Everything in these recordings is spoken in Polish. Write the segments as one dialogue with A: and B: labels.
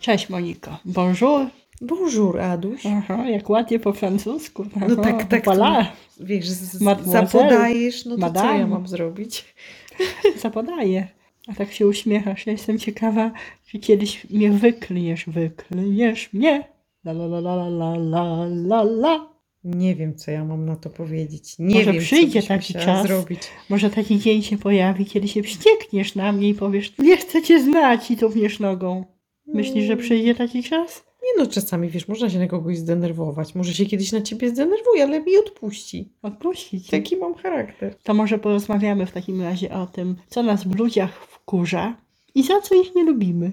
A: Cześć Moniko. Bonjour.
B: Bonjour, Aduś.
A: Aha, jak ładnie po francusku. Aha,
B: No tak, tak,
A: Voilà.
B: Wiesz, z- z-
A: Mademoiselle.
B: zapodajesz, no to co ja
A: Madame.
B: mam zrobić?
A: Zapodaję. A tak się uśmiechasz. Ja jestem ciekawa, czy kiedyś mnie wyklniesz. Wyklniesz mnie. La la la la la la la la.
B: Nie wiem, co ja mam na to powiedzieć. Nie
A: Może
B: wiem,
A: przyjdzie
B: co byś
A: taki
B: musiała
A: czas.
B: zrobić.
A: Może taki dzień się pojawi, kiedy się wściekniesz na mnie i powiesz, nie chcę cię znać i tupniesz nogą. Myślisz, że
B: Mm,
A: przyjdzie taki czas?
B: Nie no, czasami, wiesz, można się na kogoś zdenerwować. Może się kiedyś na ciebie zdenerwuje, ale mi odpuści.
A: Odpuścić.
B: Taki mam charakter.
A: To może porozmawiamy w takim razie o tym, co nas w ludziach wkurza i za co ich nie lubimy.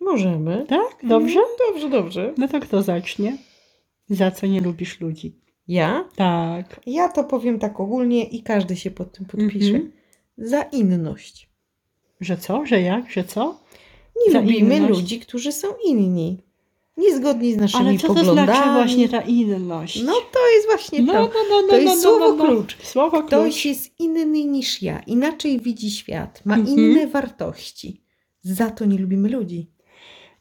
B: Możemy.
A: Tak? Dobrze?
B: Mm, Dobrze, dobrze.
A: No to kto zacznie? Za co nie lubisz ludzi?
B: Ja?
A: Tak.
B: Ja to powiem tak ogólnie i każdy się pod tym podpisze.
A: Mhm.
B: Za inność.
A: Że co? Że jak? Że co?
B: Nie
A: Za
B: lubimy
A: inność.
B: ludzi, którzy są inni. Niezgodni z naszymi
A: Ale co to
B: poglądami.
A: znaczy właśnie ta inność?
B: No to jest właśnie
A: no,
B: to.
A: no, no, no,
B: To jest
A: no,
B: słowo
A: no, no.
B: klucz.
A: Słowo
B: Ktoś
A: klucz.
B: jest inny niż ja, inaczej widzi świat, ma
A: Mhm.
B: inne wartości. Za to nie lubimy ludzi.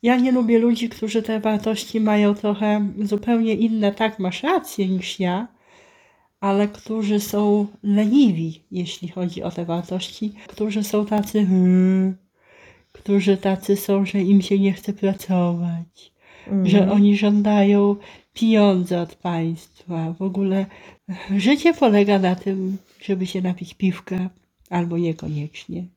A: Ja nie lubię ludzi, którzy te wartości mają trochę zupełnie inne, tak masz rację niż ja, ale którzy są leniwi, jeśli chodzi o te wartości, którzy są tacy, hmm, którzy tacy są, że im się nie chce pracować,
B: Mm.
A: że oni żądają pieniądze od państwa. W ogóle życie polega na tym, żeby się napić piwka, albo niekoniecznie,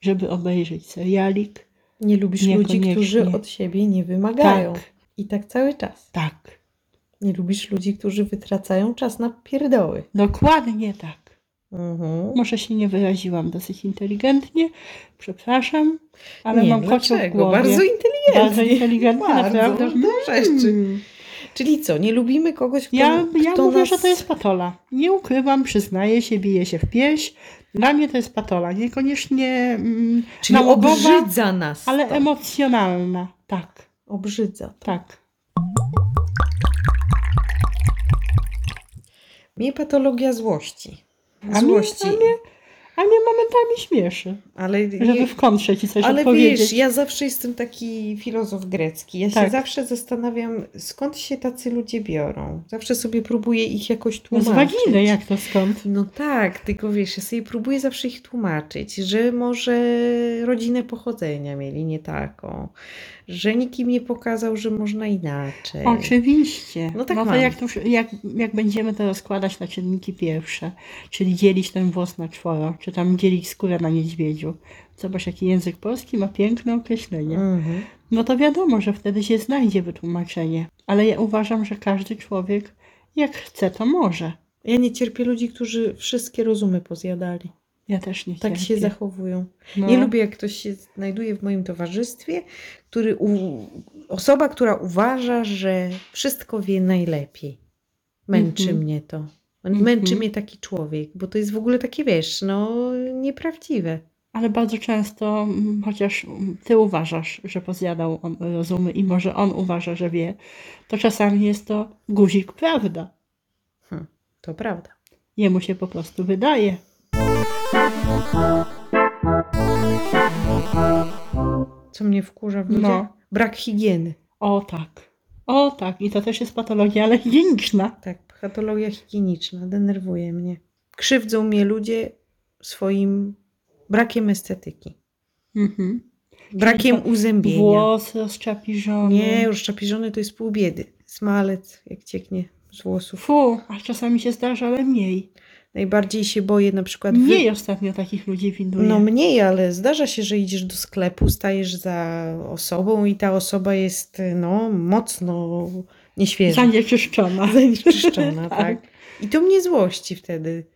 A: żeby obejrzeć serialik.
B: nie lubisz ludzi,
A: Niekoniecznie.
B: którzy od siebie nie wymagają.
A: Tak.
B: I tak cały czas.
A: Tak.
B: Nie lubisz ludzi, którzy wytracają czas na pierdoły.
A: Dokładnie tak.
B: Mhm.
A: Może się nie wyraziłam dosyć inteligentnie, przepraszam, ale
B: nie, no
A: mam kocioł w
B: dlaczego?
A: głowie.
B: Bardzo inteligentny.
A: Bardzo inteligentny, naprawdę.
B: Dużo rzeczy.
A: Mm.
B: Czyli co, nie lubimy kogoś, kto,
A: Ja, ja
B: kto
A: mówię,
B: nas...
A: że to jest patola. Nie ukrywam, przyznaję się, biję się w pieś. Dla mnie to jest patola. Niekoniecznie mm,
B: Czyli
A: nałogowa,
B: obrzydza nas
A: ale
B: to.
A: emocjonalna. Tak,
B: Obrzydza.
A: tak.
B: Mnie patologia złości.
A: mnie-
B: Złości.
A: a mnie- A mnie momentami śmieszy,
B: Ale,
A: żeby w kontrze ci coś
B: ale
A: odpowiedzieć.
B: wiesz, ja zawsze jestem taki filozof grecki. Ja się
A: Tak.
B: zawsze zastanawiam, skąd się tacy ludzie biorą. Zawsze sobie próbuję ich jakoś
A: no z
B: tłumaczyć.
A: waginy, jak to skąd?
B: No tak, tylko wiesz, ja sobie próbuję zawsze ich tłumaczyć, że może rodzinę pochodzenia mieli nie taką, że nikt im nie pokazał, że można inaczej.
A: Oczywiście.
B: No tak
A: no to
B: mam.
A: jak, to, już- jak, jak będziemy to rozkładać na czynniki pierwsze, czyli dzielić ten włos na czworo, czy tam dzielić skórę na niedźwiedziu. Zobacz, jaki język polski ma piękne określenie.
B: Mhm.
A: No to wiadomo, że wtedy się znajdzie wytłumaczenie. Ale ja uważam, że każdy człowiek jak chce, to może.
B: Ja nie cierpię ludzi, którzy wszystkie rozumy pozjadali.
A: Ja też nie
B: Tak się
A: cierpię.
B: zachowują.
A: no.
B: Nie lubię, jak ktoś się znajduje w moim towarzystwie, który u... osoba, która uważa, że wszystko wie najlepiej. Męczy
A: Mhm.
B: mnie to.
A: Mhm.
B: Męczy mnie taki człowiek, bo to jest w ogóle takie, wiesz, no nieprawdziwe.
A: Ale bardzo często, mm, chociaż mm, ty uważasz, że pozjadał on rozumy i może on uważa, że wie, to czasami jest to guzik prawda.
B: To prawda.
A: Jemu się po prostu wydaje.
B: Co mnie wkurza w
A: No.
B: ludziach? Brak higieny.
A: O tak. O tak. I to też jest patologia, ale higieniczna.
B: Tak, patologia higieniczna denerwuje mnie. Krzywdzą mnie ludzie swoim brakiem estetyki,
A: Mhm.
B: brakiem uzębienia.
A: Włos rozczapiżony.
B: Nie, już czapiżony to jest pół biedy. Smalec, jak cieknie z włosów.
A: Fu, a czasami się zdarza, ale mniej.
B: Najbardziej się boję na przykład... wy-
A: Mniej ostatnio takich ludzi winduję.
B: No mniej, ale zdarza się, że idziesz do sklepu, stajesz za osobą i ta osoba jest, no, mocno nieświeża.
A: Zanieczyszczona.
B: Zanieczyszczona, tak. I to mnie złości wtedy.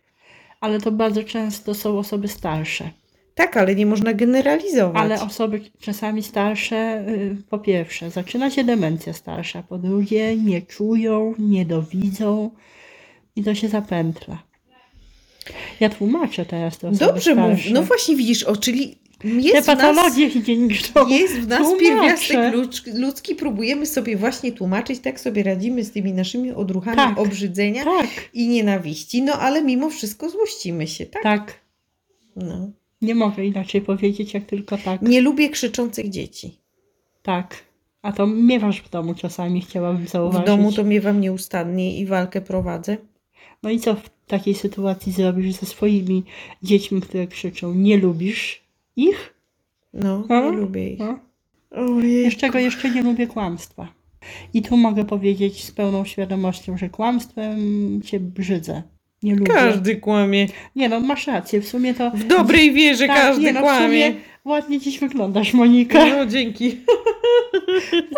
A: Ale to bardzo często są osoby starsze.
B: Tak, ale nie można generalizować.
A: Ale osoby czasami starsze, y, po pierwsze, zaczyna się demencja starsza, po drugie, nie czują, nie dowidzą i to się zapętla. Ja tłumaczę teraz te osoby
B: Dobrze mówisz.
A: starsze.
B: No właśnie widzisz, o, czyli
A: Te
B: jest w nas,
A: patologie higieniczne.
B: jest w nas
A: Tłumaczę.
B: pierwiastek ludz- ludzki, próbujemy sobie właśnie tłumaczyć, tak sobie radzimy z tymi naszymi odruchami
A: Tak.
B: obrzydzenia
A: Tak,
B: i nienawiści, no ale mimo wszystko złościmy się, tak?
A: tak.
B: No.
A: Nie mogę inaczej powiedzieć, jak tylko tak.
B: Nie lubię krzyczących dzieci.
A: Tak. A to miewasz w domu czasami, chciałabym
B: W
A: zauważyć.
B: domu to miewam nieustannie i walkę prowadzę.
A: No i co w takiej sytuacji zrobisz ze swoimi dziećmi, które krzyczą? Nie lubisz ich?
B: No,
A: A?
B: nie lubię ich.
A: No.
B: Ojej.
A: Wiesz czego jeszcze nie lubię? Kłamstwa. I tu mogę powiedzieć z pełną świadomością, że kłamstwem cię brzydzę. Nie lubię.
B: Każdy kłamie.
A: Nie no, masz rację, w sumie to...
B: W dobrej wierze
A: Tak,
B: każdy
A: nie no, w
B: kłamie.
A: sumie ładnie dziś wyglądasz, Monika.
B: No, dzięki.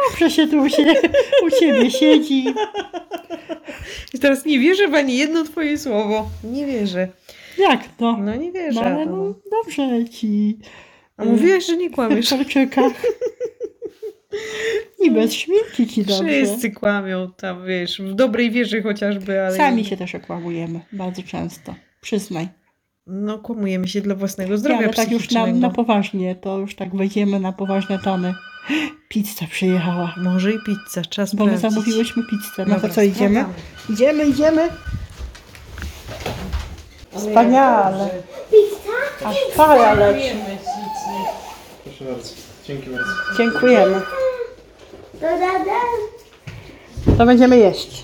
A: Dobrze się tu u ciebie, u ciebie siedzi.
B: I teraz nie wierzę w ani jedno twoje słowo. Nie wierzę.
A: Jak to?
B: No nie
A: No,
B: wierzę.
A: ale no, dobrze ci.
B: A mówiłaś, że nie kłamiesz.
A: Czeka. I bez śmierci ci dobrze.
B: Wszyscy kłamią tam, wiesz, w dobrej wierze chociażby, ale...
A: Sami się też okłamujemy bardzo często. Przyznaj.
B: No, kłamujemy się dla własnego
A: Nie,
B: zdrowia
A: ale tak już na,
B: psychicznego.
A: na poważnie, to już tak wejdziemy na poważne tony. Pizza przyjechała.
B: Może i pizza, czas
A: Bo my
B: sprawdzić.
A: zamówiłyśmy pizzę. No to
B: Dobra,
A: co, idziemy?
B: sprawdzamy.
A: Idziemy, idziemy. Wspaniale. Pizza? Aż para leci.
C: Proszę bardzo. Dzięki bardzo.
A: Dziękujemy. To będziemy jeść.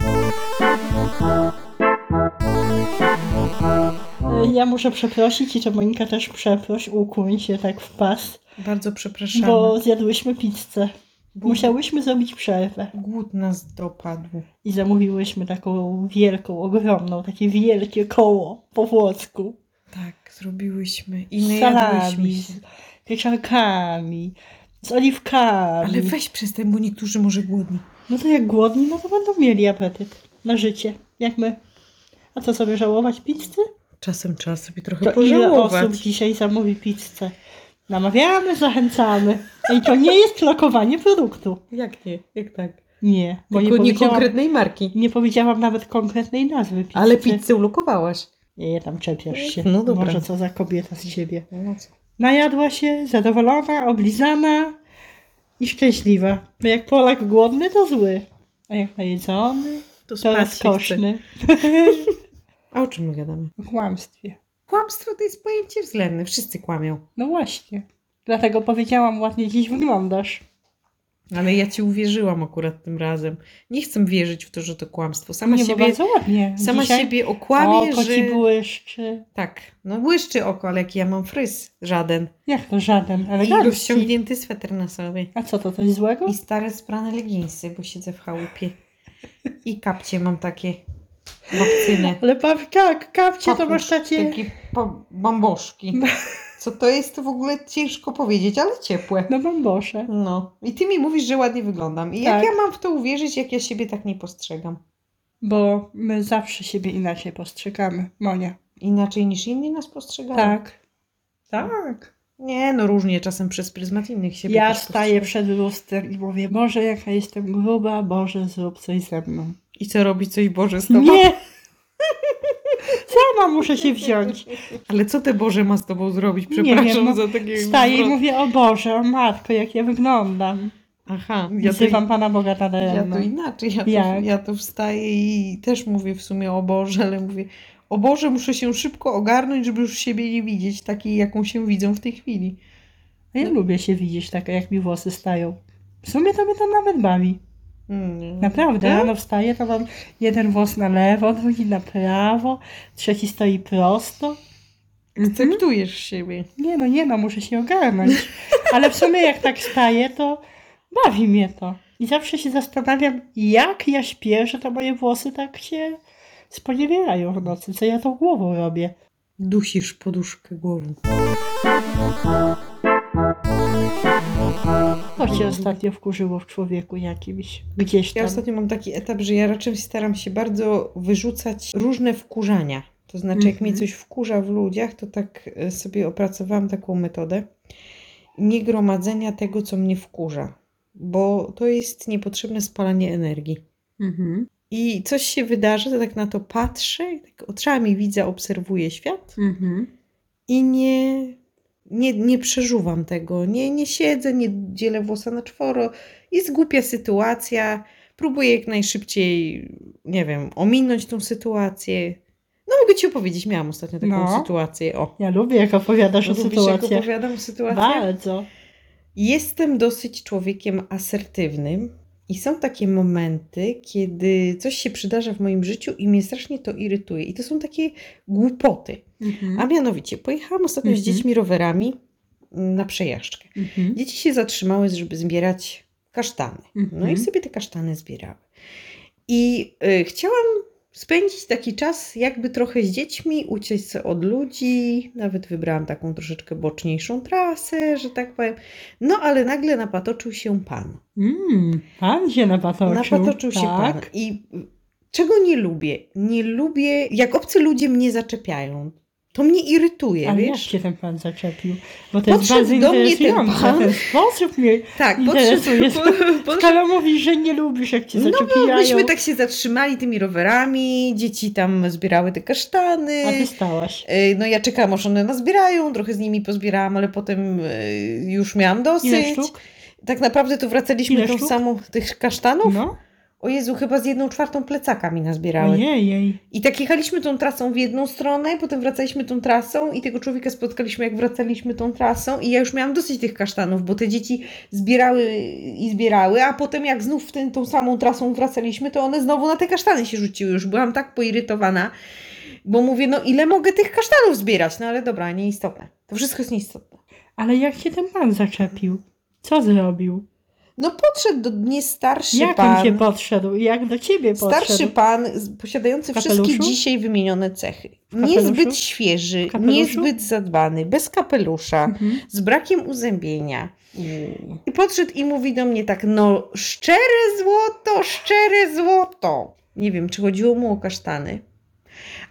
A: Ja muszę przeprosić i to Monika też przeproś, ukłoń się tak w pas,
B: Bardzo przepraszamy.
A: bo zjadłyśmy pizzę.
B: Bo
A: Musiałyśmy zrobić przerwę
B: Głód nas dopadł.
A: i zamówiłyśmy taką wielką, ogromną, takie wielkie koło po włosku.
B: Tak, zrobiłyśmy. I
A: Z
B: najadłyśmy
A: salami,
B: się.
A: z pieczarkami, z oliwkami.
B: Ale weź przestań, bo niektórzy może głodni.
A: No to jak głodni, no to będą mieli apetyt na życie, jak my. A co sobie żałować pizzy?
B: Czasem trzeba sobie trochę
A: To ile osób
B: pożałować.
A: dzisiaj zamówi pizzę? Namawiamy, zachęcamy. I to nie jest lokowanie produktu.
B: Jak nie? Jak tak?
A: Nie, bo nie
B: Tylko nie
A: powiedziałam,
B: konkretnej marki.
A: nie powiedziałam nawet konkretnej nazwy pizzy.
B: Ale pizzę ulokowałaś.
A: Nie, tam czepiasz się.
B: No dobra.
A: Może co za kobieta z ciebie.
B: No co?
A: Najadła się, zadowolona, oblizana i szczęśliwa. Bo jak Polak głodny, to zły. A jak najedzony,
B: To
A: to
B: spać się chce.
A: rozkoszny.
B: A o czym my gadamy?
A: W kłamstwie.
B: Kłamstwo to jest pojęcie względne. Wszyscy kłamią.
A: No właśnie. Dlatego powiedziałam, ładnie dziś wyglądasz.
B: Ale ja ci uwierzyłam akurat tym razem. Nie chcę wierzyć w to, że to kłamstwo. Sama
A: nie, bo
B: siebie,
A: bardzo ładnie.
B: sama
A: Dzisiaj
B: siebie okłamię,
A: oko
B: że...
A: ci błyszczy.
B: Tak, no błyszczy oko, ale jak ja mam fryz, żaden.
A: Jak to żaden,
B: I
A: elegancki.
B: rozciągnięty sweter na sobie.
A: A co to, coś złego?
B: I stare sprane leginsy, bo siedzę w chałupie. I kapcie mam takie bakcyne.
A: Ale paw, tak, kapcie to masz takie...
B: Takie pa- bamboszki. Co to jest, to w ogóle ciężko powiedzieć, ale ciepłe.
A: No bambosze.
B: No. I ty mi mówisz, że ładnie wyglądam. I jak
A: Tak.
B: ja mam w to uwierzyć, jak ja siebie tak nie postrzegam?
A: Bo my zawsze siebie inaczej postrzegamy, Monia.
B: Inaczej niż inni nas postrzegają.
A: Tak. Tak.
B: Nie, no różnie, czasem przez pryzmat innych siebie
A: Ja
B: też
A: staję
B: postrzegam.
A: przed lustrem i mówię, Boże, jaka jestem gruba, Boże, zrób coś ze mną.
B: I co robi coś Boże z tobą?
A: Nie! Sama muszę się wziąć.
B: Ale co te Boże ma z tobą zrobić?
A: Nie
B: Przepraszam
A: wiem, no,
B: za takie...
A: Staję i
B: zwrot.
A: mówię, o Boże, o Matko, jak ja wyglądam.
B: Aha, ja to,
A: Wzywam Pana Boga na
B: ja
A: daremno.
B: to inaczej. Ja
A: Jak?
B: to, ja to wstaję i też mówię w sumie o Boże, ale mówię o Boże, muszę się szybko ogarnąć, żeby już siebie nie widzieć takiej, jaką się widzą w tej chwili.
A: A Ja lubię się widzieć tak, jak mi włosy stają. W sumie to mnie to nawet bawi.
B: Mm.
A: Naprawdę,
B: Tak?
A: rano wstaję, to mam jeden włos na lewo, drugi na prawo, trzeci stoi prosto.
B: Akceptujesz siebie.
A: Nie no, nie no, muszę się ogarnąć. Ale w sumie jak tak staję, to bawi mnie to. I zawsze się zastanawiam, jak ja śpię, że te moje włosy tak się sponiewierają w nocy, co ja tą głową robię.
B: Dusisz poduszkę głową.
A: To cię ostatnio wkurzyło w człowieku jakimś, gdzieś
B: Ja
A: tam.
B: ostatnio mam taki etap, że ja raczej staram się bardzo wyrzucać różne wkurzania. To znaczy, jak mnie
A: Mhm.
B: coś wkurza w ludziach, to tak e, sobie opracowałam taką metodę nie gromadzenia tego, co mnie wkurza, bo to jest niepotrzebne spalanie energii.
A: Mhm,
B: I coś się wydarzy, to tak na to patrzę, i tak oczami widzę, obserwuję świat
A: mhm.
B: i nie, nie, nie przeżuwam tego. Nie, nie siedzę, nie dzielę włosa na czworo. Jest głupia sytuacja. Próbuję jak najszybciej, nie wiem, ominąć tą sytuację. No mogę Ci opowiedzieć, miałam ostatnio taką
A: No.
B: sytuację. O,
A: Ja lubię, jak opowiadasz o
B: Lubisz, jak
A: sytuacjach.
B: opowiadam sytuację?
A: Bardzo.
B: Jestem dosyć człowiekiem asertywnym i są takie momenty, kiedy coś się przydarza w moim życiu i mnie strasznie to irytuje. I to są takie głupoty.
A: Mhm.
B: A mianowicie, pojechałam ostatnio z
A: Mhm.
B: dziećmi rowerami mm, na przejażdżkę.
A: Mhm.
B: Dzieci się zatrzymały, żeby zbierać kasztany. No
A: Mhm.
B: i sobie te kasztany zbierały. I y, chciałam spędzić taki czas, jakby trochę z dziećmi, uciec se od ludzi. Nawet wybrałam taką troszeczkę boczniejszą trasę, że tak powiem. No ale nagle napatoczył się pan.
A: Mm, pan się napatoczył.
B: Napatoczył się
A: tak.
B: pan. I y, czego nie lubię? Nie lubię, jak obcy ludzie mnie zaczepiają. To mnie irytuje,
A: Ale jak
B: wiesz?
A: się ten pan zaczepił? Bo to jest
B: Podszedł
A: bardzo
B: do mnie ten
A: interesujące.
B: pan.
A: Ten sposób mnie
B: Tak,
A: interesuje.
B: podszedł- podszedł
A: Skala mówi, że nie lubisz, jak cię
B: No, bo
A: zaczepiają.
B: Myśmy tak się zatrzymali tymi rowerami, dzieci tam zbierały te kasztany.
A: A ty stałaś.
B: Yy, No ja czekałam, aż one nazbierają, trochę z nimi pozbierałam, ale potem yy, już miałam
A: Ile
B: dosyć.
A: sztuk?
B: Tak naprawdę to wracaliśmy
A: Ile
B: tą
A: sztuk?
B: samą tych kasztanów.
A: No,
B: O Jezu, chyba z jedną czwartą plecaka mi nazbierały.
A: ojej, jej.
B: I tak jechaliśmy tą trasą w jedną stronę, potem wracaliśmy tą trasą i tego człowieka spotkaliśmy, jak wracaliśmy tą trasą i ja już miałam dosyć tych kasztanów, bo te dzieci zbierały i zbierały, a potem jak znów w ten, tą samą trasą wracaliśmy, to one znowu na te kasztany się rzuciły. Już byłam tak poirytowana, bo mówię, no ile mogę tych kasztanów zbierać? No ale dobra, nieistotne. To wszystko jest nieistotne.
A: Ale jak cię ten pan zaczepił? Co zrobił?
B: No podszedł do mnie starszy
A: jak
B: pan.
A: on cię podszedł? Jak do ciebie podszedł?
B: Starszy pan z- posiadający
A: W kapeluszu?
B: wszystkie dzisiaj wymienione cechy.
A: kapeluszu?
B: Niezbyt świeży,
A: W kapeluszu?
B: niezbyt zadbany, bez kapelusza,
A: Mhm.
B: z brakiem uzębienia. I podszedł i mówi do mnie tak, no szczere złoto, szczere złoto. Nie wiem, czy chodziło mu o kasztany.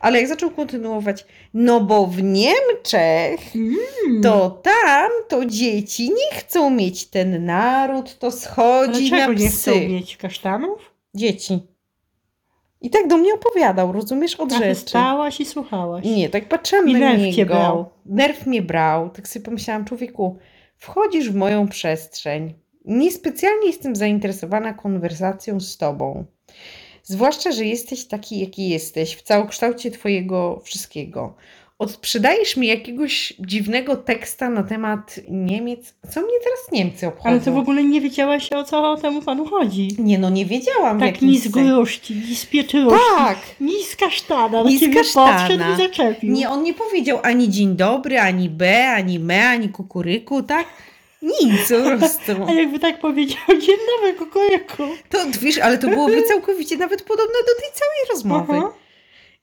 B: Ale jak zaczął kontynuować, no bo w Niemczech
A: Mm.
B: to tam to dzieci nie chcą mieć ten naród, to
A: Ale
B: schodzi
A: czego
B: na psy
A: nie chcą mieć? Kasztanów?
B: dzieci. I tak do mnie opowiadał, rozumiesz, od
A: A ty
B: rzeczy.
A: stałaś i słuchałaś.
B: Nie, tak patrzyłam
A: I
B: na
A: nerw
B: niego.
A: cię brał.
B: Nerw mnie brał. Tak sobie pomyślałam, człowieku, wchodzisz w moją przestrzeń. Niespecjalnie jestem zainteresowana konwersacją z tobą. Zwłaszcza, że jesteś taki, jaki jesteś, w całokształcie twojego wszystkiego. Odsprzedajesz mi jakiegoś dziwnego teksta na temat Niemiec. Co mnie teraz Niemcy obchodzą?
A: Ale ty w ogóle nie wiedziałaś, o co temu panu chodzi.
B: Nie, no nie wiedziałam. w
A: Tak
B: jakim
A: ni z
B: sensie.
A: gruszki, ni z pietruszki,
B: Tak!
A: ni z kasztana.
B: Ni
A: Ni
B: z
A: ciebie
B: kasztana.
A: podszedł i zaczepił.
B: Nie, on nie powiedział ani dzień dobry, ani B, ani me, ani kukuryku, tak? Nic po prostu.
A: A jakby tak powiedział, dzień dobry, kukuryku.
B: To, wiesz, ale to byłoby całkowicie nawet podobne do tej całej rozmowy.
A: Aha.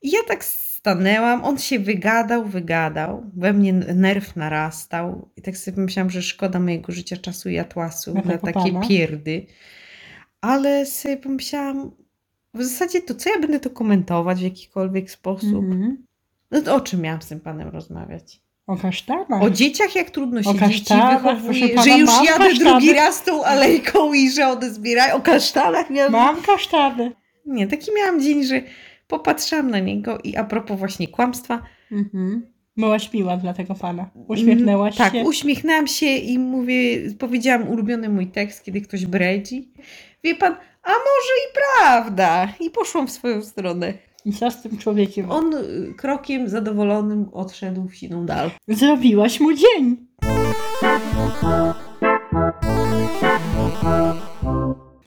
B: I ja tak stanęłam, on się wygadał, wygadał, we mnie nerw narastał i tak sobie pomyślałam, że szkoda mojego życia, czasu i atłasu
A: Na
B: na,
A: tego
B: takie
A: pana.
B: pierdy. Ale sobie pomyślałam, w zasadzie to co ja będę to komentować w jakikolwiek sposób?
A: Mhm.
B: No to o czym miałam z tym panem rozmawiać?
A: O kasztanach.
B: O dzieciach, jak trudno się
A: Mhm. O
B: dzieci
A: kasztanach, proszę
B: wychowuje,
A: pana,
B: że już
A: mam
B: jadę
A: kasztany.
B: drugi raz tą alejką i że one zbierają. O kasztanach miałam...
A: Mam kasztany.
B: Nie, taki miałam dzień, że popatrzyłam na niego i a propos właśnie kłamstwa.
A: Mhm. Byłaś miła dla tego pana. Uśmiechnęłaś
B: tak,
A: się.
B: Tak, uśmiechnęłam się i mówię, powiedziałam ulubiony mój tekst, kiedy ktoś bredzi. Wie pan, a może i prawda. I poszłam w swoją stronę.
A: I co z tym człowiekiem?
B: On y, krokiem zadowolonym odszedł w siną dal.
A: Zrobiłaś mu dzień.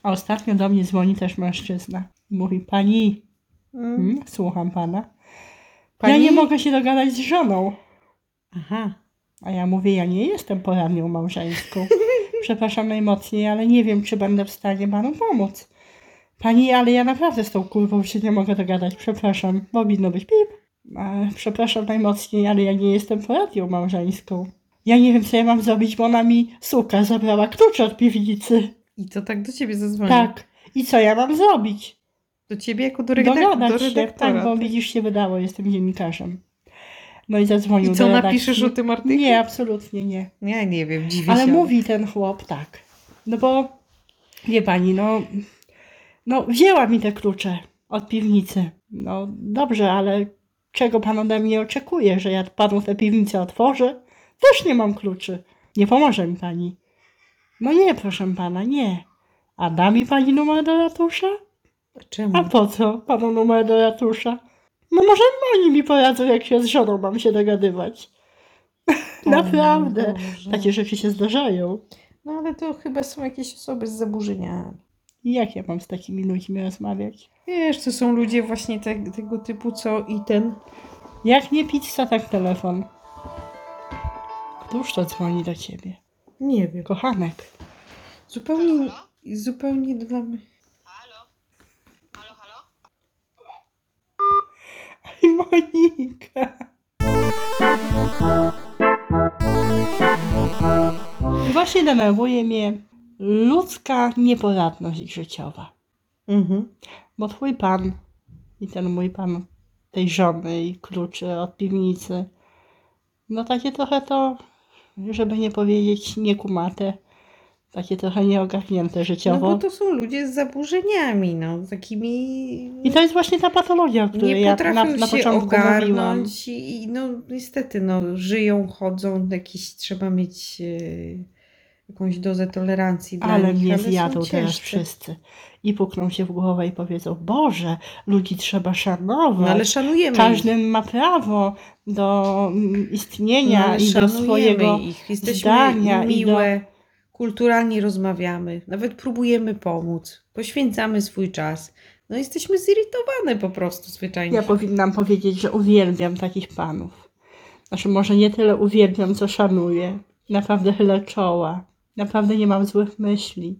A: A ostatnio do mnie dzwoni też mężczyzna. Mówi, pani,
B: Mm.
A: hmm, słucham pana. Ja
B: Pani-
A: nie mogę się dogadać z żoną.
B: Aha.
A: A ja mówię, ja nie jestem poradnią małżeńską. Przepraszam najmocniej, ale nie wiem, czy będę w stanie panu pomóc. Pani, ale ja naprawdę z tą kurwą się nie mogę dogadać. Przepraszam, powinno być pip. A, przepraszam najmocniej, ale ja nie jestem poradnią małżeńską. Ja nie wiem, co ja mam zrobić, bo ona mi, suka, zabrała klucz od piwnicy.
B: I to tak do ciebie zadzwonił.
A: Tak. I co ja mam zrobić?
B: Do ciebie jako do, redak- do
A: Dogadać się,
B: redaktora.
A: tak, bo widzisz, się wydało, jestem dziennikarzem. No i zadzwonił
B: I co
A: do redakcji.
B: napiszesz o tym artykule?
A: Nie, absolutnie nie.
B: Ja nie wiem, dziwię
A: Ale
B: się.
A: mówi ten chłop tak. No bo wie pani, no, no wzięła mi te klucze od piwnicy. No dobrze, ale czego pan ode mnie oczekuje, że ja panu tę piwnicę otworzę? Też nie mam kluczy. Nie pomoże mi pani. No nie, proszę pana, nie. A da mi pani numer do ratusza?
B: Czemu?
A: A po co panu numer do ratusza? No może oni mi poradzą, jak się z żoną mam się dogadywać.
B: O mój
A: Naprawdę.
B: Boże.
A: Takie rzeczy się zdarzają.
B: No ale to chyba są jakieś osoby z zaburzeniami.
A: I jak ja mam z takimi ludźmi rozmawiać?
B: Wiesz, to są ludzie właśnie te, tego typu, co i ten.
A: Jak nie pizza, tak telefon. Któż to dzwoni do ciebie?
B: Nie wiem.
A: Kochanek.
B: Zupełnie, zupełnie dla mnie.
D: Halo? Halo, halo?
A: I Monika. Właśnie denerwuje mnie ludzka nieporadność życiowa.
B: Mhm.
A: Bo twój pan i ten mój pan tej żony i kluczy od piwnicy, no takie trochę to, żeby nie powiedzieć niekumate, takie trochę nieogarnięte
B: No
A: życiowo.
B: bo to są ludzie z zaburzeniami, no, takimi.
A: I to jest właśnie ta patologia, o
B: nie
A: której ja
B: potrafią
A: na, na
B: się
A: początku mówiłam.
B: ogarnąć i, i no niestety no, żyją, chodzą, jakieś trzeba mieć e, jakąś dozę tolerancji dla
A: Ale
B: nich,
A: mnie
B: są
A: zjadą teraz
B: ciężcy.
A: wszyscy. I pukną się w głowę i powiedzą, Boże, ludzi trzeba
B: No
A: szanować.
B: ale szanujemy
A: Każdy ma prawo do mm,
B: ich.
A: istnienia
B: no, ale
A: i do
B: szanujemy
A: swojego...
B: ich. Jesteśmy
A: zdania i do-
B: miłe, kulturalnie rozmawiamy, nawet próbujemy pomóc, poświęcamy swój czas. No jesteśmy zirytowane po prostu zwyczajnie.
A: Ja powinnam powiedzieć, że uwielbiam takich panów. Znaczy może nie tyle uwielbiam, co szanuję. Naprawdę chylę czoła. Naprawdę nie mam złych myśli.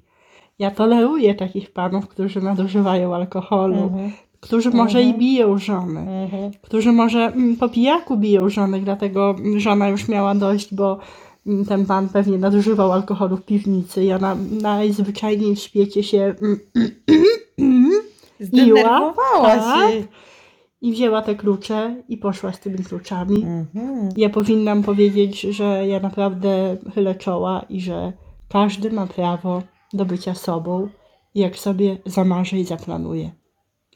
A: Ja toleruję takich panów, którzy nadużywają alkoholu,
B: Mhm,
A: którzy może i
B: Mhm.
A: biją żony.
B: mhm.
A: którzy może mm, po pijaku biją żonę, dlatego mm, żona już miała dość, bo mm, ten pan pewnie nadużywał alkoholu w piwnicy i ona najzwyczajniej w świecie się mm,
B: Zdenerwowała
A: tak.
B: się.
A: i wzięła te klucze i poszła z tymi kluczami.
B: Mhm.
A: Ja powinnam powiedzieć, że ja naprawdę chylę czoła i że każdy ma prawo do bycia sobą, jak sobie zamarzy i zaplanuje.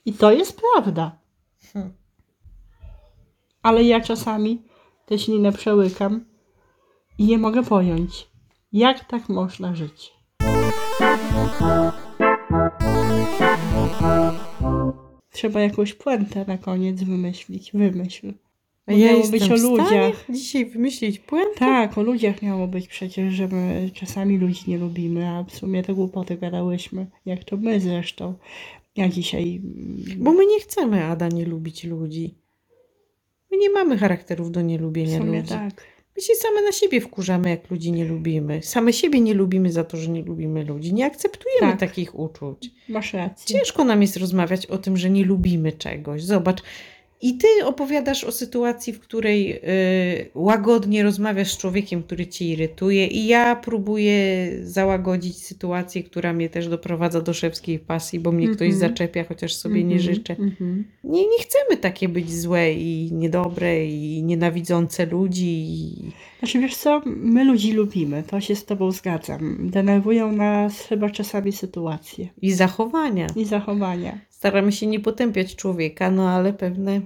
A: I to jest prawda.
B: Hmm.
A: ale ja czasami tę ślinę przełykam i nie mogę pojąć, jak tak można żyć. Trzeba jakąś puentę na koniec wymyślić. Wymyśl.
B: A
A: Bo
B: ja
A: miało
B: jestem
A: być o
B: w stanie
A: ludziach.
B: dzisiaj wymyślić puentę?
A: Tak, o ludziach miało być przecież, że my czasami ludzi nie lubimy, a w sumie to głupoty gadałyśmy, jak to my zresztą. Ja dzisiaj... mm,
B: Bo my nie chcemy, Ada, nie lubić ludzi. My nie mamy charakterów do
A: w
B: nielubienia
A: sumie
B: ludzi.
A: tak.
B: My się same na siebie wkurzamy, jak ludzi nie lubimy. Same siebie nie lubimy za to, że nie lubimy ludzi. Nie akceptujemy
A: Tak.
B: takich uczuć.
A: Masz rację.
B: Ciężko nam jest rozmawiać o tym, że nie lubimy czegoś. Zobacz. I ty opowiadasz o sytuacji, w której y, łagodnie rozmawiasz z człowiekiem, który cię irytuje, i ja próbuję załagodzić sytuację, która mnie też doprowadza do szewskiej pasji, bo mnie ktoś
A: Mhm.
B: zaczepia, chociaż sobie nie
A: Mhm,
B: życzę.
A: mhm.
B: Nie, nie chcemy takie być złe i niedobre i nienawidzące ludzi. I...
A: Znaczy wiesz co, my ludzi lubimy, to się z tobą zgadzam. Denerwują nas chyba czasami sytuacje
B: i zachowania.
A: i zachowania,
B: Staramy się nie potępiać człowieka, no ale pewne.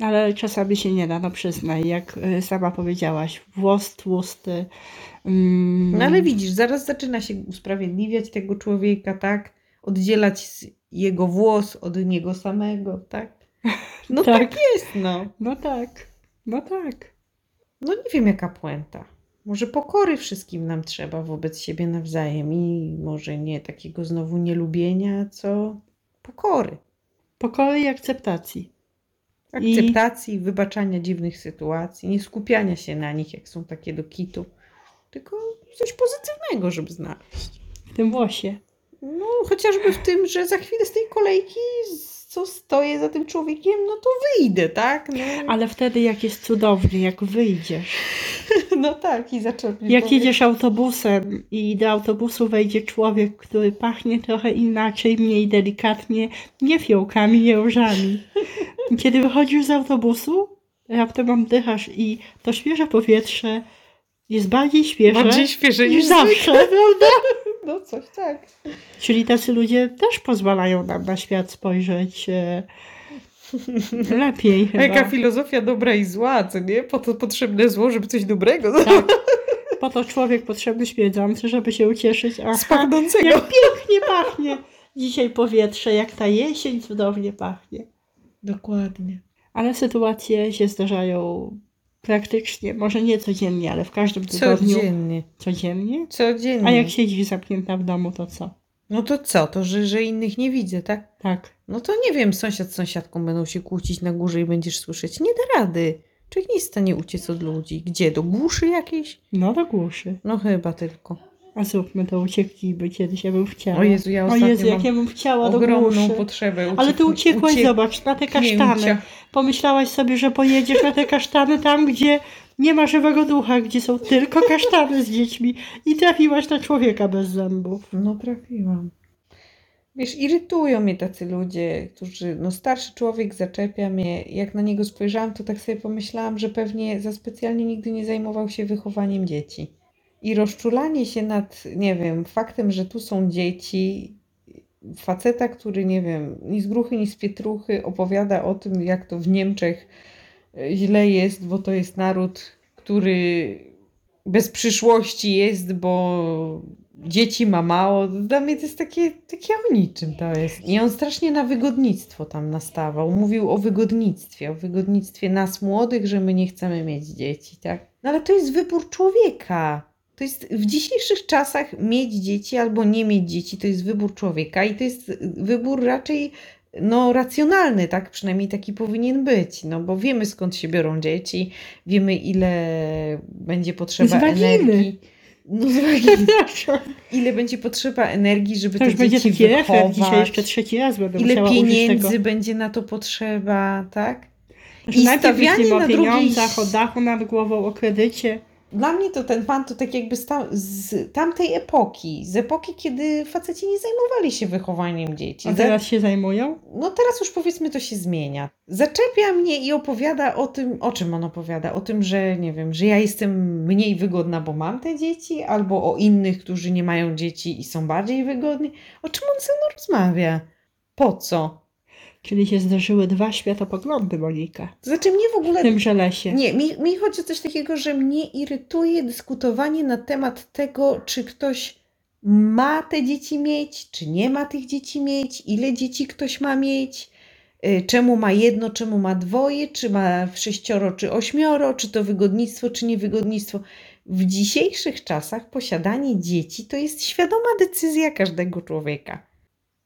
A: ale czasami się nie da, no przyznaj, jak y, sama powiedziałaś, włos tłusty. mm,
B: No ale widzisz, zaraz zaczyna się usprawiedliwiać tego człowieka, tak? Oddzielać s- jego włos od niego samego, tak? No tak,
A: Tak.
B: jest, no.
A: No tak, no tak.
B: No nie wiem, jaka puenta. Może pokory wszystkim nam trzeba wobec siebie nawzajem i może nie takiego znowu nielubienia, co pokory.
A: Pokoju i akceptacji. I-
B: akceptacji, wybaczania dziwnych sytuacji, nie skupiania się na nich, jak są takie do kitu, tylko coś pozytywnego, żeby znaleźć.
A: W tym włosie.
B: No, chociażby w tym, że za chwilę z tej kolejki, z- co stoję za tym człowiekiem, no to wyjdę, tak? No,
A: Ale wtedy jak jest cudownie, jak wyjdziesz.
B: no tak, i zaczerpnę.
A: Jak jedziesz autobusem i do autobusu wejdzie człowiek, który pachnie trochę inaczej, mniej delikatnie, nie fiołkami, nie różami. Kiedy wychodzisz z autobusu, raptem oddychasz i to świeże powietrze jest bardziej świeże
B: Bardziej świeże
A: niż
B: niż zawsze.
A: zawsze, prawda?
B: No coś tak.
A: Czyli tacy ludzie też pozwalają nam na świat spojrzeć e, lepiej
B: A jaka
A: chyba.
B: filozofia dobra i zła, co nie? Po to potrzebne zło, żeby coś dobrego
A: Tak. Po to człowiek potrzebny śmierdzący, żeby się ucieszyć. Aha,
B: z pachnącego.
A: Jak pięknie pachnie dzisiaj powietrze, jak ta jesień cudownie pachnie.
B: Dokładnie.
A: Ale sytuacje się zdarzają praktycznie, może nie codziennie, ale w każdym tygodniu
B: Codziennie. Mm.
A: codziennie.
B: Codziennie.
A: A jak siedzisz zamknięta w domu, to co?
B: No to co? To, że, że innych nie widzę, tak?
A: Tak.
B: No to nie wiem, sąsiad z sąsiadką będą się kłócić na górze i będziesz słyszeć. Nie da rady. Czy nie jest w stanie uciec od ludzi? Gdzie? Do głuszy jakiejś?
A: No do głuszy.
B: No chyba tylko.
A: A zróbmy to uciekli, by kiedyś ja bym chciała.
B: O Jezu, ja
A: Tak. o
B: ostatnio
A: Jezu jak
B: mam
A: ja bym chciała do
B: ogromną
A: głuszy.
B: potrzebę uciek-
A: Ale ty uciekłaś,
B: uciek-
A: zobacz, na te kasztany.
B: knięcia.
A: Pomyślałaś sobie, że pojedziesz na te kasztany tam, gdzie nie ma żywego ducha, gdzie są tylko kasztany z dziećmi i trafiłaś na człowieka bez zębów.
B: No trafiłam. Wiesz, irytują mnie tacy ludzie, którzy, no starszy człowiek zaczepia mnie. Jak na niego spojrzałam, to tak sobie pomyślałam, że pewnie za specjalnie nigdy nie zajmował się wychowaniem dzieci. I rozczulanie się nad, nie wiem, faktem, że tu są dzieci, faceta, który, nie wiem, ni z gruchy, ni z pietruchy opowiada o tym, jak to w Niemczech e, źle jest, bo to jest naród, który bez przyszłości jest, bo dzieci ma mało. Dla mnie to jest takie, takie o niczym to jest. I on strasznie na wygodnictwo tam nastawał. Mówił o wygodnictwie, o wygodnictwie nas młodych, że my nie chcemy mieć dzieci, tak? No ale to jest wybór człowieka. To jest w dzisiejszych czasach mieć dzieci albo nie mieć dzieci, to jest wybór człowieka i to jest wybór raczej no, racjonalny, tak? Przynajmniej taki powinien być, no bo wiemy skąd się biorą dzieci, wiemy ile będzie potrzeba
A: waginy.
B: energii. No, z waginy
A: Przepraszam.
B: ile będzie potrzeba energii, żeby
A: To
B: te
A: już będzie
B: dzieci
A: taki refer
B: wychować,
A: dzisiaj jeszcze trzeci raz będę
B: ile
A: musiała użyć tego.
B: pieniędzy będzie na to potrzeba, tak?
A: Znaczy,
B: i
A: najpierw
B: stawianie
A: myślimy
B: na
A: o
B: drugiej-
A: pieniądzach, o dachu nad głową, o kredycie.
B: Dla mnie to ten pan to tak jakby stał z tamtej epoki, z epoki, kiedy faceci nie zajmowali się wychowaniem dzieci.
A: A
B: Za-
A: teraz się zajmują?
B: no teraz już powiedzmy to się zmienia. Zaczepia mnie i opowiada o tym, o czym on opowiada? O tym, że nie wiem, że ja jestem mniej wygodna, bo mam te dzieci, albo o innych, którzy nie mają dzieci i są bardziej wygodni. O czym on ze mną rozmawia? Po co?
A: Czyli się zdarzyły dwa światopoglądy, Monika.
B: To znaczy mnie w
A: W
B: ogóle...
A: tymże lesie.
B: Nie, mi, mi chodzi o coś takiego, że mnie irytuje dyskutowanie na temat tego, czy ktoś ma te dzieci mieć, czy nie ma tych dzieci mieć, ile dzieci ktoś ma mieć, y, czemu ma jedno, czemu ma dwoje, czy ma sześcioro, czy ośmioro, czy to wygodnictwo, czy niewygodnictwo. W dzisiejszych czasach posiadanie dzieci to jest świadoma decyzja każdego człowieka.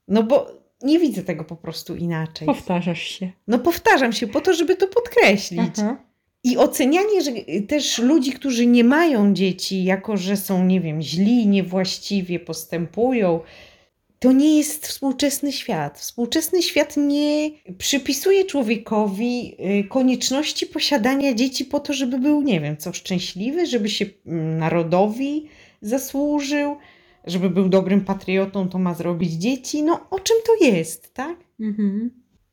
B: No bo nie widzę tego po prostu inaczej.
A: Powtarzasz się.
B: No powtarzam się po to, żeby to podkreślić.
A: Aha.
B: I ocenianie że y, też ludzi, którzy nie mają dzieci, jako że są, nie wiem, źli, niewłaściwie postępują, to nie jest współczesny świat. Współczesny świat nie przypisuje człowiekowi y, konieczności posiadania dzieci po to, żeby był, nie wiem, co szczęśliwy, żeby się mm, narodowi zasłużył, żeby był dobrym patriotą, to ma zrobić dzieci. No o czym to jest, tak?
A: Mhm.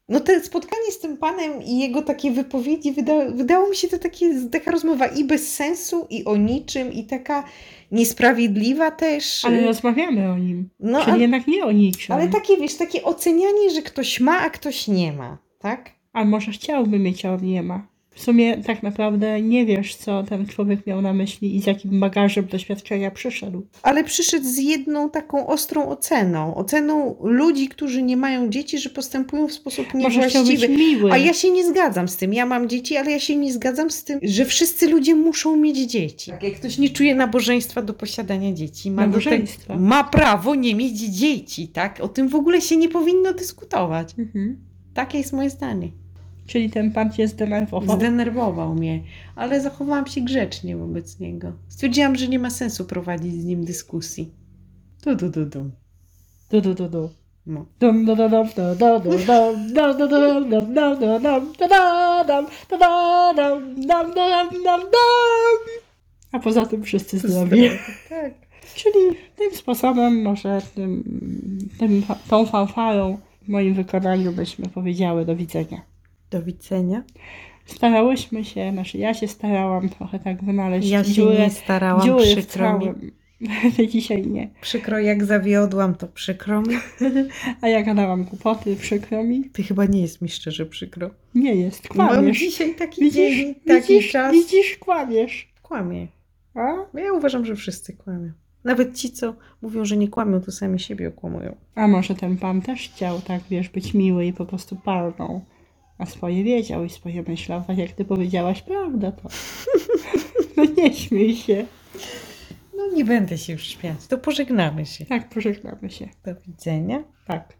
B: No te spotkanie z tym panem i jego takie wypowiedzi, wyda, wydało mi się to takie, taka rozmowa i bez sensu, i o niczym, i taka niesprawiedliwa też.
A: Ale rozmawiamy o nim.
B: no,
A: Czyli
B: ale,
A: jednak nie o niczym.
B: ale tak takie, wiesz, takie ocenianie, że ktoś ma, a ktoś nie ma, tak?
A: A może chciałby mieć, a on nie ma. W sumie tak naprawdę nie wiesz, co ten człowiek miał na myśli i z jakim bagażem doświadczenia przyszedł.
B: Ale przyszedł z jedną taką ostrą oceną. Oceną ludzi, którzy nie mają dzieci, że postępują w sposób
A: Może chciał być
B: niewłaściwy.
A: miły.
B: A ja się nie zgadzam z tym. Ja mam dzieci, ale ja się nie zgadzam z tym, że wszyscy ludzie muszą mieć dzieci. Tak, Jak ktoś nie czuje nabożeństwa do posiadania dzieci, ma, do tego,
A: Nabożeństwa.
B: ma prawo nie mieć dzieci, tak? O tym w ogóle się nie powinno dyskutować.
A: Mhm.
B: Takie jest moje zdanie.
A: Czyli ten pan cię zdenerwował.
B: Zdenerwował mnie, ale zachowałam się grzecznie wobec niego. Stwierdziłam, że nie ma sensu prowadzić z nim dyskusji. Du, du, du, du.
A: Du, du, du, du.
B: No.
A: Dum, du, du, dum, du, du, du, dum, dum, du, du, dum, dum, dum, du, dum, du, du, dum, du, du, dum, dum, du, dum, dum, dum. A poza tym wszyscy zdrowi.
B: Tak.
A: Czyli tym sposobem, może tym, tym, fa- tą fanfarą w moim wykonaniu byśmy powiedziały do widzenia.
B: Do widzenia.
A: Starałyśmy się, znaczy ja się starałam trochę tak wynaleźć
B: Ja się
A: dziurę,
B: nie starałam,
A: dziury w
B: przykro mi.
A: całym. Dzisiaj nie.
B: Przykro, jak zawiodłam, to przykro mi.
A: A ja gadałam głupoty, przykro mi.
B: Ty chyba nie jest mi szczerze przykro.
A: Nie jest,
B: Mam
A: kłamiesz.
B: No, dzisiaj taki
A: Widzisz,
B: dzień, taki
A: widzisz,
B: czas.
A: widzisz, kłamiesz.
B: Kłamie.
A: A?
B: Ja uważam, że wszyscy kłamią. Nawet ci, co mówią, że nie kłamią, to sami siebie okłamują.
A: A może ten pan też chciał, tak wiesz, być miły i po prostu palnął. A swoje wiedział i swoje myślał, tak jak ty powiedziałaś, prawda to. No nie śmiej się.
B: No nie będę się już śmiać, to pożegnamy się.
A: Tak, pożegnamy się.
B: Do widzenia.
A: Tak.